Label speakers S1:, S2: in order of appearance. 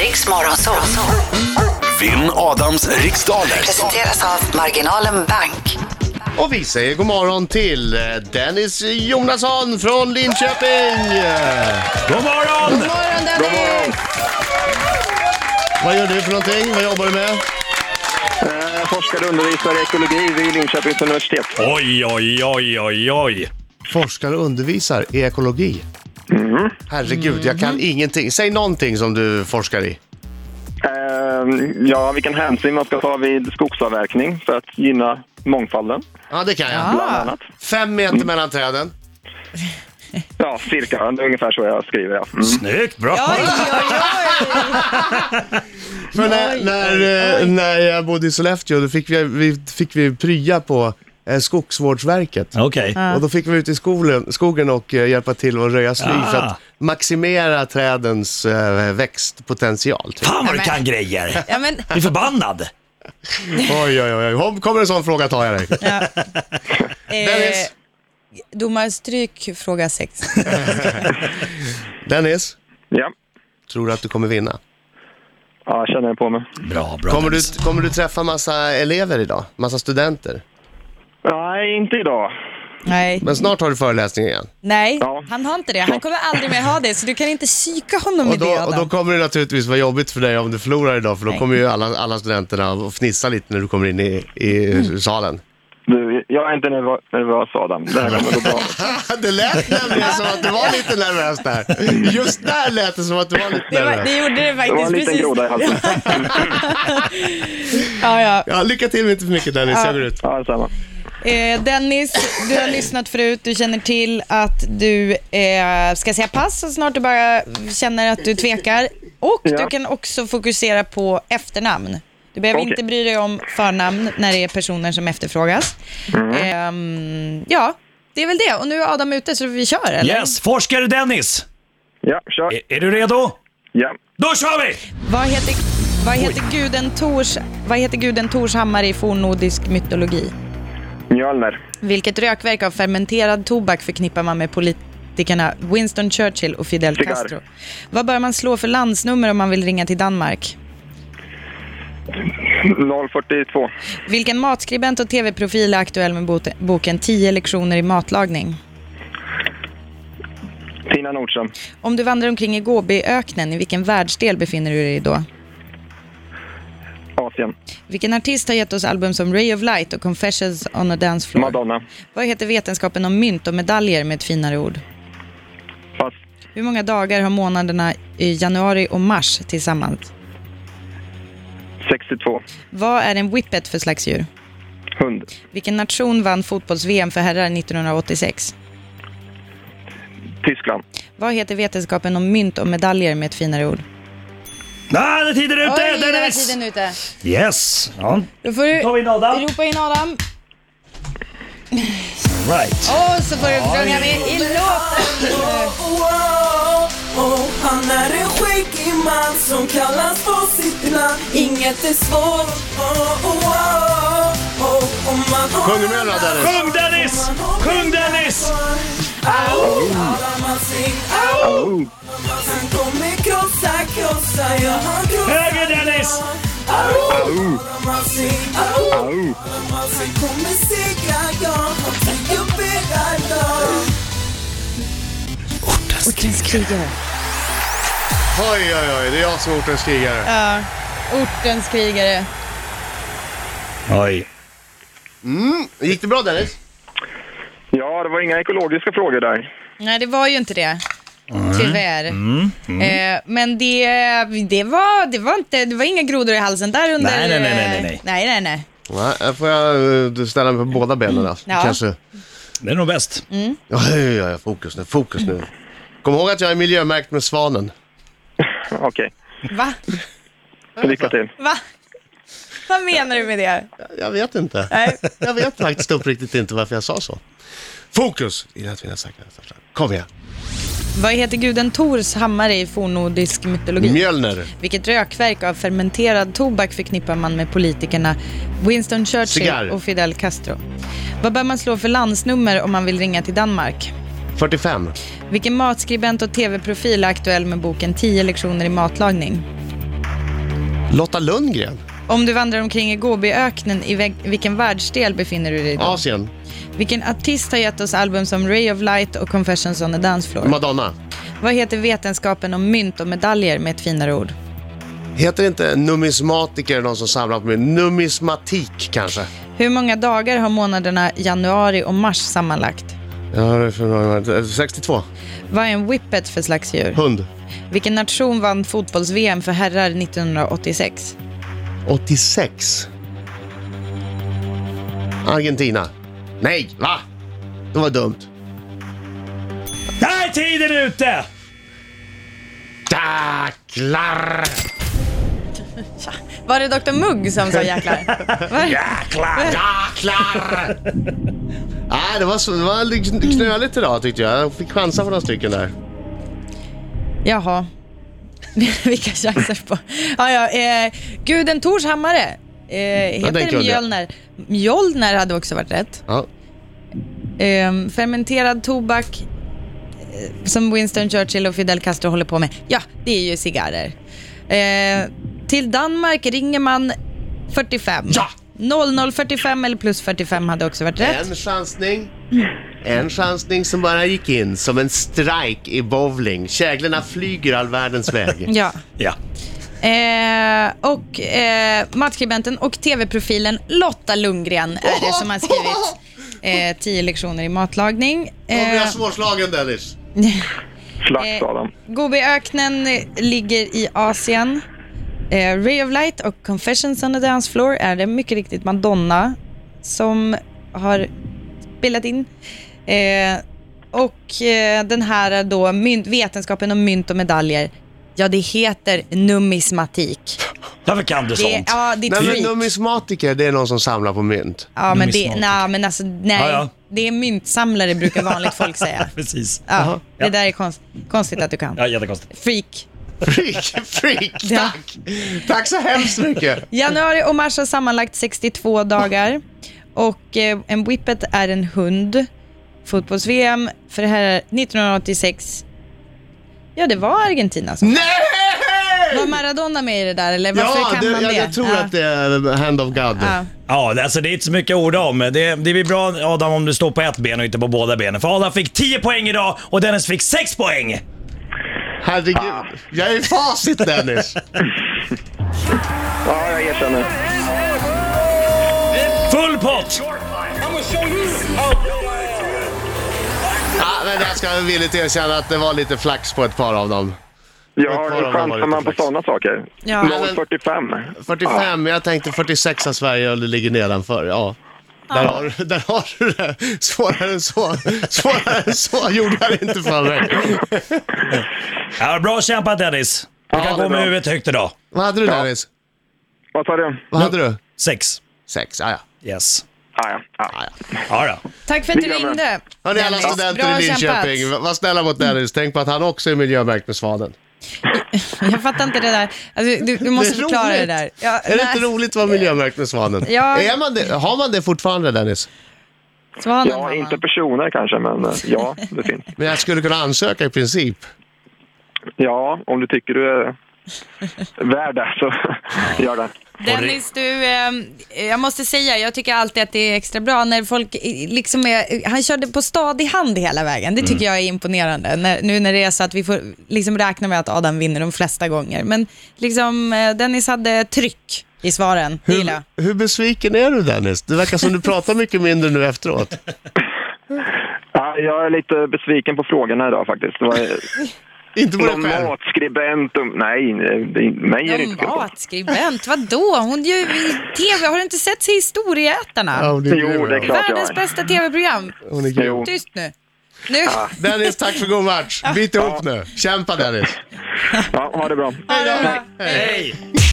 S1: Riks Morgonzoo.
S2: Vinn Adams riksdaler.
S1: Presenteras av Marginalen Bank.
S3: Och vi säger god morgon till eh, Dennis Jonasson från Linköping!
S4: God morgon!
S5: God morgon Dennis!
S3: Vad gör du för någonting? Vad jobbar du med?
S6: Eh, forskare och undervisare i ekologi vid Linköpings universitet.
S4: Oj, oj, oj, oj, oj.
S3: Forskar och undervisar i ekologi.
S5: Mm-hmm.
S3: Herregud, jag kan ingenting. Säg någonting som du forskar i.
S6: Eh, ja, vilken hänsyn man ska ta vid skogsavverkning för att gynna mångfalden,
S3: Ja, det kan jag.
S6: bland
S5: Ah.
S6: annat.
S3: Fem meter mellan träden.
S6: Ja, cirka. Det är ungefär så jag skriver. Ja. Mm.
S4: Snyggt, bra.
S5: Oj, oj, oj!
S3: För när, när, eh, när jag bodde i Sollefteå, då fick vi, vi, fick vi prya på eh, Skogsvårdsverket.
S4: Okej.
S3: Och då fick vi ut i skolen, skogen och eh, hjälpa till att röja sly
S4: Ah.
S3: för att maximera trädens eh, växtpotential. Typ.
S4: Fan vad du kan grejer.
S5: Ja, men,
S4: Du är förbannad.
S3: Oj, oj, oj. Om kommer en sån fråga tar jag dig.
S5: eh,
S3: Dennis,
S5: domarstryk fråga sex.
S3: Dennis,
S6: Ja.
S3: tror du att du kommer vinna?
S6: ja, jag känner det på mig.
S4: Bra, bra.
S3: Kommer du,
S4: Dennis.
S3: kommer du träffa massa elever idag? Massa studenter?
S6: Nej, inte idag.
S5: Nej,
S3: Men snart har du föreläsning igen.
S5: nej,
S6: Ja.
S5: han har inte det. Han kommer aldrig mer ha det, så du kan inte psyka honom i
S3: Och
S5: det
S3: då, och då
S5: Adam.
S3: kommer det naturligtvis vara jobbigt för dig om du förlorar idag för då
S5: Nej.
S3: kommer ju alla, alla studenterna att fnissa lite när du kommer in i, i salen.
S6: Du, jag är inte nervö- nervös, Adam. Det här kommer gå bra.
S3: Det lät nämligen som att du var lite nervös där. Just där lät det som att du var lite
S5: Det, var, det
S3: nervös.
S5: gjorde det
S6: Det
S5: faktiskt.
S6: var en liten
S5: precis.
S6: groda i halsen.
S5: Ja, ja.
S3: Ja, lycka till med inte för mycket Dennis, jag går ut.
S6: Ja, detsamma.
S5: Eh, Dennis, du har lyssnat förut. Du känner till att du eh, ska säga pass så snart du bara känner att du tvekar. Och du
S6: Ja.
S5: kan också fokusera på efternamn. Du behöver
S6: Okej.
S5: inte bry dig om förnamn när det är personer som efterfrågas.
S6: Mm.
S5: Ehm, ja, det är väl det. Och nu är Adam ute så vi kör, eller?
S4: Yes, forskare Dennis.
S6: Ja, kör.
S4: Är, är du redo?
S6: Ja.
S4: Då kör vi!
S5: Vad heter, vad heter guden Tors, vad heter guden Torshammare i fornnordisk mytologi?
S6: Mjölner.
S5: Vilket rökverk av fermenterad tobak förknippar man med politikerna Winston Churchill och Fidel
S6: Cigarr.
S5: Castro? Vad bör man slå för landsnummer om man vill ringa till Danmark?
S6: 042.
S5: Vilken matskribent och tv-profil är aktuell med bot- boken 10 lektioner i matlagning?
S6: Tina Nordström.
S5: Om du vandrar omkring i Gobiöknen, i vilken världsdel befinner du dig då?
S6: Asien.
S5: Vilken artist har gett oss album som Ray of Light och Confessions on a Dance Floor?
S6: Madonna.
S5: Vad heter vetenskapen om mynt och medaljer med ett finare ord?
S6: Pass.
S5: Hur många dagar har månaderna i januari och mars tillsammans?
S6: 62.
S5: Vad är en whippet för slags djur?
S6: Hund.
S5: Vilken nation vann fotbolls-VM för herrar 1986?
S6: Tyskland.
S5: Vad heter vetenskapen om mynt och medaljer med ett finare ord?
S4: Nej, det är tiden ute, Dennis!
S5: tiden ute.
S4: Yes. Ja,
S5: Då får du
S4: tar vi in Adam.
S5: ropa in Adam
S4: Right.
S5: och så får du sjunga med i låten.
S7: Han är en skäggig man som kallas på sitt namn Inget är svårt oh, oh, oh, oh. Om man har
S3: Sjunger med då Dennis.
S4: Sjung Dennis! Sjung Dennis!
S7: Han kommer krossa, krossa, ja han krossar
S4: Höger Dennis!
S7: man sig oh, Han kommer segra, ja han tänker bära, ja
S5: Ortens krigare.
S3: Oj, oj, oj, det är jag som är ortens krigare.
S5: Ja, ortens krigare.
S4: Oj.
S3: Gick det bra Dennis?
S6: Ja, det var inga ekologiska frågor där.
S5: Nej, det var ju inte det. Mm. Tyvärr. Eh, men det, det, var, det, var inte, det var inga grodor i halsen där under...
S4: Nej, nej, nej, nej, nej,
S5: eh,
S4: nej.
S5: nej, nej, nej.
S3: Nej, här får jag eh, ställa mig på båda benen alltså.
S5: Ja.
S3: Kanske.
S4: Det är nog bäst.
S5: Mm.
S3: Ja, ja, ja, ja, fokus nu, fokus nu. Kom ihåg att jag är miljömärkt med svanen.
S6: Okej,
S5: Va?
S6: lycka till.
S5: Va? Vad menar du med det?
S3: Jag vet inte.
S5: Nej.
S3: Jag vet faktiskt uppriktigt inte varför jag sa så. Fokus! I att vinna säkra nästa Kom igen.
S5: Vad heter guden Tors hammare i fornnordisk mytologi?
S3: Mjölner.
S5: Vilket rökverk av fermenterad tobak förknippar man med politikerna Winston Churchill
S3: Cigarr.
S5: och Fidel Castro? Vad bör man slå för landsnummer om man vill ringa till Danmark?
S3: 45.
S5: Vilken matskribent och tv-profil är aktuell med boken 10 lektioner i matlagning?
S3: Lotta Lundgren?
S5: Om du vandrar omkring i Gobiöknen, i väg- vilken världsdel befinner du dig i då?
S3: Asien?
S5: Vilken artist har gett oss album som Ray of Light och Confessions on a Dance Floor?
S3: Madonna?
S5: Vad heter vetenskapen om mynt och medaljer med ett finare ord?
S3: Heter det inte numismatiker någon som samlar på mig? Numismatik kanske?
S5: Hur många dagar har månaderna januari och mars sammanlagt?
S3: Ja, det är för- 62.
S5: Vad är en whippet för slags djur?
S3: Eh, Hund.
S5: Vilken nation vann fotbolls-VM för herrar 1986?
S3: 86. Argentina. Nej, va? Det var dumt.
S4: Där är tiden ute!
S3: Jäklar!
S5: Var det Dr Mugg som sa jäklar? Va?
S3: Jäklar! Jäklar! Nej, det var, så, det var lite kn- knöligt idag tyckte jag. Jag fick chansa för några stycken där.
S5: Jaha. Vilka chanser på... Ja, ja, eh, Guden Tors hammare eh,
S3: den
S5: heter
S3: kunde jag.
S5: Mjölner. Mjölner hade också varit rätt.
S3: Ja.
S5: Ehm, fermenterad tobak eh, som Winston Churchill och Fidel Castro håller på med. Ja, det är ju cigarrer. Eh, till Danmark ringer man 45.
S3: Ja!
S5: 0045 eller plus 45 hade också varit rätt.
S3: En chansning. En chansning som bara gick in som en strike i bowling. Käglorna flyger all världens väg.
S5: Ja.
S4: Ja.
S5: Eh, och eh, matchskribenten och tv-profilen Lotta Lundgren är det som har skrivit eh, 10 lektioner i matlagning.
S3: Då blir jag
S5: Eh,
S3: svårslagen Dennis.
S6: Slags Adam.
S5: Gobiöknen ligger i Asien. Eh, Ray of Light och Confessions on the Dance Floor är det mycket riktigt Madonna som har spelat in. Eh, och eh, den här då mynt, vetenskapen om mynt och medaljer. Ja, det heter numismatik.
S4: Varför kan du
S5: Det,
S4: sånt?
S5: ja, det är
S3: Nej, men
S5: freak.
S3: numismatiker, det är någon som samlar på mynt.
S5: Ja, men det,
S4: numismatik.
S5: nej, men alltså, nej,
S4: Ja, ja.
S5: det är myntsamlare brukar vanligt folk säga.
S4: Precis.
S5: Ja, det
S4: Ja.
S5: där är konst, konstigt att du kan.
S4: Ja, jättekonstigt.
S5: Freak.
S3: Freak, freak,
S5: Ja.
S3: tack! Tack så hemskt mycket!
S5: Januari och mars har sammanlagt 62 dagar. Och eh, en whippet är en hund. Fotbolls-VM för det här är 1986. Ja, det var Argentina som...
S3: Nej!
S5: Var Maradona med i det där eller varför
S3: Ja,
S5: kan
S3: det,
S5: man det?
S3: jag, jag tror
S5: Ja,
S3: att det är hand of God.
S5: ja.
S4: Ja, alltså det är inte så mycket att orda om. Det, det blir bra Adam om du står på ett ben och inte på båda benen. För Adam fick 10 poäng idag och Dennis fick 6 poäng!
S3: Herregud, jag är i facit Dennis.
S6: Ja, jag erkänner.
S4: Full pott!
S3: Ja, men jag ska villigt erkänna att det var lite flax på ett par av dem.
S6: Ja,
S3: Kolla om
S6: hur
S3: de har
S6: chansar man på
S3: lite flax.
S6: sådana saker?
S5: Ja.
S3: Men-
S6: 0,45.
S3: 45, jag tänkte 46 av Sverige och det ligger nedanför. Ja. Där har, du- där har du det. Svårare än så. Svårare än så gjorde jag det inte för mig.
S4: Ja, bra kämpat Dennis. Du
S6: Ja,
S4: kan
S6: det
S4: gå
S6: är
S4: med
S6: bra.
S4: huvudet högt idag.
S3: Vad hade du Dennis?
S6: Vad sa du?
S3: Vad hade du?
S4: 6.
S3: Sex, ja ja.
S4: Yes.
S6: Ah, ja. Ah.
S4: Ja, då.
S5: Tack för att du
S6: Lika bra.
S5: ringde.
S3: Hörni alla
S5: Dennis.
S3: studenter i Linköping,
S5: kämpat.
S3: var snälla mot Dennis. Tänk på att han också är miljömärkt med svaden.
S5: Jag fattar inte det där. Alltså, du, du måste
S3: Det är
S5: förklara
S3: roligt.
S5: det där. Ja,
S3: Är det
S5: nej.
S3: inte roligt att vara miljömärkt med svanen?
S5: Ja.
S3: Är man det, har man det fortfarande Dennis?
S5: Svanen har
S6: Ja,
S5: man.
S6: inte personer kanske, men eh, ja, det finns.
S3: Men jag skulle kunna ansöka i princip.
S6: Ja, om du tycker du är värd det så gör det.
S5: Dennis, du, eh, jag måste säga, jag tycker alltid att det är extra bra när folk eh, liksom är, han körde på stadig hand hela vägen. Det tycker
S6: Mm.
S5: jag är imponerande. När, nu när det är så att vi får liksom räkna med att Adam vinner de flesta gånger. Men liksom, eh, Dennis hade tryck i svaren. Det gillar jag.
S3: Hur, hur besviken är du Dennis? Det verkar som du pratar mycket mindre nu efteråt.
S6: Ja, jag är lite besviken på frågorna idag faktiskt. Det var eh,
S3: Inte på dig
S6: någon
S3: själv.
S6: matskribent och... Nej, eh, det, mig är det inte fel
S5: Ja,
S6: på.
S5: matskribent, vadå? Hon gör ju tv, har du inte sett Historieätarna?
S3: Ja, hon är grym,
S6: Jo, det är
S3: ja.
S6: klart jag
S5: Världens
S6: är.
S5: bästa tv-program.
S3: Hon är grym.
S6: Jo.
S5: Tyst nu. Nu,
S3: Dennis, tack för god match. Bit ihop nu. Kämpa Dennis.
S6: Ja, ha det bra.
S5: ha det bra.
S4: Hej!